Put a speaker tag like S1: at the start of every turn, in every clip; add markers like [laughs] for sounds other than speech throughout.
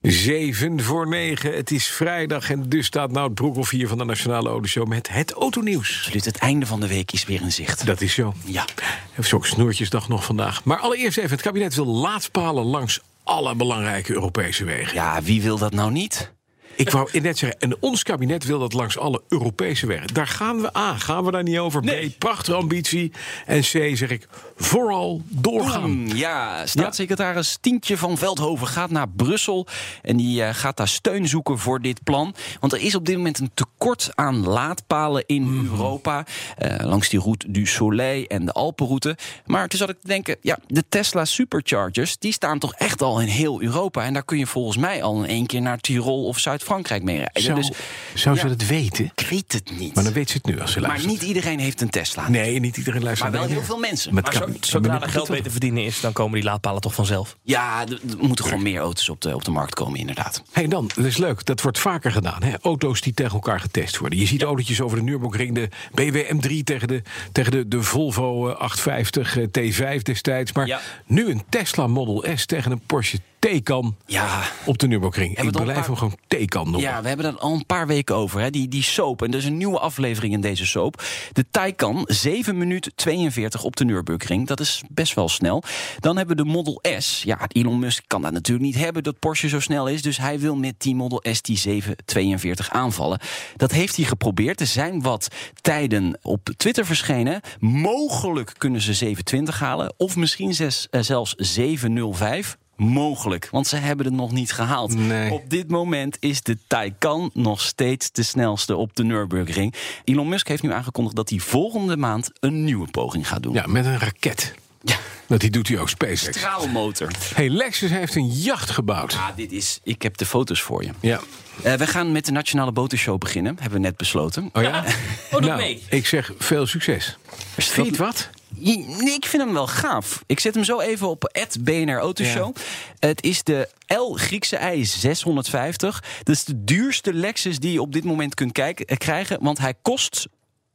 S1: 7 voor 9, het is vrijdag en dus staat Nout Broekhoff hier van de Nationale Audioshow met het autonieuws.
S2: Absoluut, het einde van de week is weer in zicht.
S1: Dat is zo.
S2: Ja,
S1: Heeft ook snoertjesdag nog vandaag. Maar allereerst even, het kabinet wil laadpalen langs alle belangrijke Europese wegen.
S2: ja wie wil dat nou niet?
S1: Ik wou [laughs] net zeggen, en ons kabinet wil dat langs alle Europese wegen. Daar gaan we aan, gaan we daar niet over. B, prachtige ambitie. En C, zeg ik, vooral doorgaan.
S2: Mm, Ja, staatssecretaris Tientje van Veldhoven gaat naar Brussel. En die eh, gaat daar steun zoeken voor dit plan. Want er is op dit moment een tekort aan laadpalen in
S1: Hmm.
S2: Europa. eh, langs die route du Soleil en de Alpenroute. Maar toen zat ik te denken, ja, de Tesla Superchargers... die staan toch echt al in heel Europa. En daar kun je volgens mij al in één keer naar Tirol of Zuid-Frankrijk mee rijden.
S1: Zou,
S2: Dus
S1: zou ze
S2: ja.
S1: dat weten?
S2: ik weet het niet.
S1: Maar
S2: Maar,
S1: dan weet ze het nu als ze luistert.
S2: niet iedereen heeft een Tesla.
S1: Nee, niet iedereen luistert.
S2: Maar wel
S1: naar
S2: heel
S1: de-
S2: veel mensen.
S1: Met
S3: Maar
S1: kap-
S3: zo,
S1: ik ben
S3: zodra
S1: ook
S3: er geld
S1: niet-
S3: mee te verdienen is, dan komen die laadpalen toch vanzelf.
S2: Ja, er er moeten gewoon meer auto's op de, op de markt komen, inderdaad.
S1: Hey dan, dat is leuk. Dat wordt vaker gedaan. Hè? Auto's die tegen elkaar getest worden. Je ziet autootjes over de Nürburgring, de BMW M3 tegen de, tegen de, de Volvo eh, 850 eh, T5 destijds. Maar
S3: Ja.
S1: nu een Tesla Model S tegen een Porsche Taycan
S2: Ja.
S1: op de Nürburgring. Ik
S2: Hebben we
S1: blijf
S2: dan een
S1: hem gewoon Taycan noemen.
S2: Ja, we hebben dat al een paar weken over, hè? Die, die soap. En er is een nieuwe aflevering in deze soap. De Taycan, 7 minuten 42 op de Nürburgring. Dat is best wel snel. Dan hebben we de Model S. Ja, Elon Musk kan dat natuurlijk niet hebben dat Porsche zo snel is. Dus hij wil met die Model S die 742 aanvallen. Dat heeft hij geprobeerd. Er zijn wat tijden op Twitter verschenen. Mogelijk kunnen ze 720 halen. Of misschien zes, eh, zelfs 705. Mogelijk, want ze hebben het nog niet gehaald.
S1: Nee.
S2: Op dit moment is de Taycan nog steeds de snelste op de Nürburgring. Elon Musk heeft nu aangekondigd dat hij volgende maand een nieuwe poging gaat doen.
S1: Ja, met een raket.
S2: Ja,
S1: Dat die doet hij ook SpaceX.
S2: straalmotor.
S1: Hey, Lexus heeft een jacht gebouwd.
S2: Ah, dit is, ik heb de foto's voor je.
S1: Ja.
S2: Eh, we gaan met de Nationale Botenshow beginnen, hebben we net besloten.
S1: Oh ja?
S3: doe
S1: nou,
S3: mee.
S1: Ik zeg veel succes. Vind je het wat?
S2: Je- nee, Ik vind hem wel gaaf. Ik zet hem zo even op het BNR Autoshow. Het is de L Griekse I 650. Dat is de duurste Lexus die je op dit moment kunt kijken, eh, krijgen. Want hij kost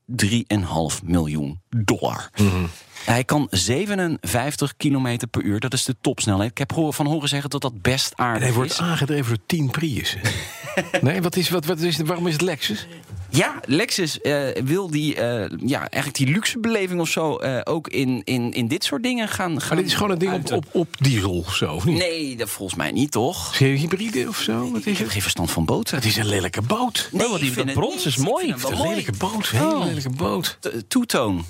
S2: 3,5 miljoen dollar.
S1: Mhm.
S2: Hij kan 57 kilometer per uur. Dat is de topsnelheid. Ik heb hoor- van horen zeggen dat dat best
S1: En
S2: aardig
S1: hij wordt
S2: is.
S1: aangedreven door 10
S2: [laughs]
S1: Priussen. nee, wat is, wat, wat is, waarom is het Lexus?
S2: Ja, Lexus eh, wil die, eh, ja, eigenlijk die luxe beleving of zo... eh, ook in, in, in dit soort dingen gaan... gaan
S1: Maar dit is gewoon een ding op, op, op diesel of zo, of niet?
S2: Nee, dat volgens mij niet, toch?
S1: Is het een hybride of zo? Wat
S2: Ik
S1: is
S2: heb
S1: het?
S2: geen verstand van boten.
S1: Het is een lelijke boot.
S2: Nee,
S3: want Oh, die-
S2: ik vind
S3: dat
S2: het niet.
S3: brons is
S2: Ik
S3: mooi.
S2: vind hem
S1: Een
S2: wel
S1: lelijke boot, een hele
S2: Oh.
S1: lelijke boot.
S2: T- Toetoon.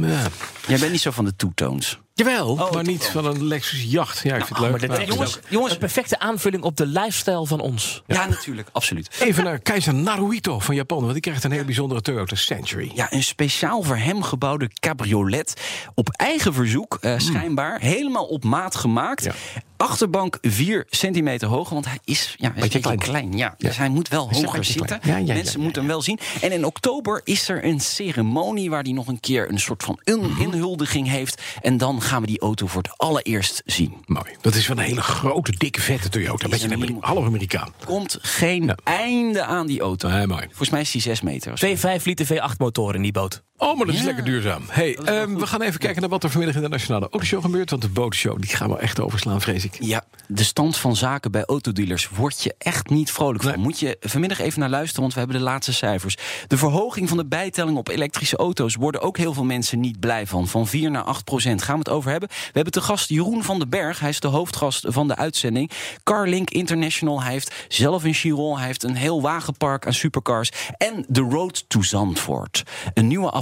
S1: Ja.
S2: Jij bent niet zo van de toetoons.
S1: Jawel, maar
S2: toch
S1: niet van een Lexus jacht. Ja, ik vind
S2: Nou,
S1: het leuk.
S3: maar dat
S1: maar-
S3: is ook- Jongens, een perfecte aanvulling op de lifestyle van ons.
S2: Ja, natuurlijk, absoluut.
S1: Even naar keizer Naruhito van Japan, want die krijgt een hele bijzondere Toyota Century.
S2: Ja, een speciaal voor hem gebouwde cabriolet. Op eigen verzoek, eh, schijnbaar. Helemaal op maat gemaakt.
S1: Hmm. Ja.
S2: Achterbank 4 centimeter hoog, want hij is, ja, hij is een beetje
S1: klein.
S2: klein. ja. Dus hij moet wel
S1: is een
S2: hoger
S1: beetje
S2: zitten.
S1: klein. Ja, ja,
S2: Mensen
S1: ja, ja,
S2: moeten hem wel zien. En in oktober is er een ceremonie waar hij nog een keer een soort van in-
S1: Mhm.
S2: inhuldiging heeft. En dan gaan we die auto voor het allereerst zien.
S1: Mooi. Dat is wel een hele grote, dikke, vette Toyota. Een beetje een
S2: een
S1: Ameri-
S2: mimo-
S1: half Amerikaan.
S2: komt geen
S1: Ja.
S2: einde aan die auto.
S1: Nee, mooi.
S2: Volgens mij is die 6 meter. of zo.
S3: Twee 5 liter V8 motoren in die boot.
S1: Oh, maar dat is lekker duurzaam. Hey, ehm, we gaan even kijken naar wat er vanmiddag in de Nationale Autoshow gebeurt. Want de botenshow, die gaan we echt overslaan, vrees ik.
S2: Ja, de stand van zaken bij autodealers word je echt niet vrolijk van.
S1: Nee.
S2: Moet je vanmiddag even naar luisteren, want we hebben de laatste cijfers. De verhoging van de bijtelling op elektrische auto's worden ook heel veel mensen niet blij van. Van 4 naar 8 procent. Gaan we het over hebben? We hebben te gast Jeroen van den Berg. Hij is de hoofdgast van de uitzending. Carlink International. Hij heeft zelf een Chiron. Hij heeft een heel wagenpark aan supercars. En The Road to Zandvoort. Een nieuwe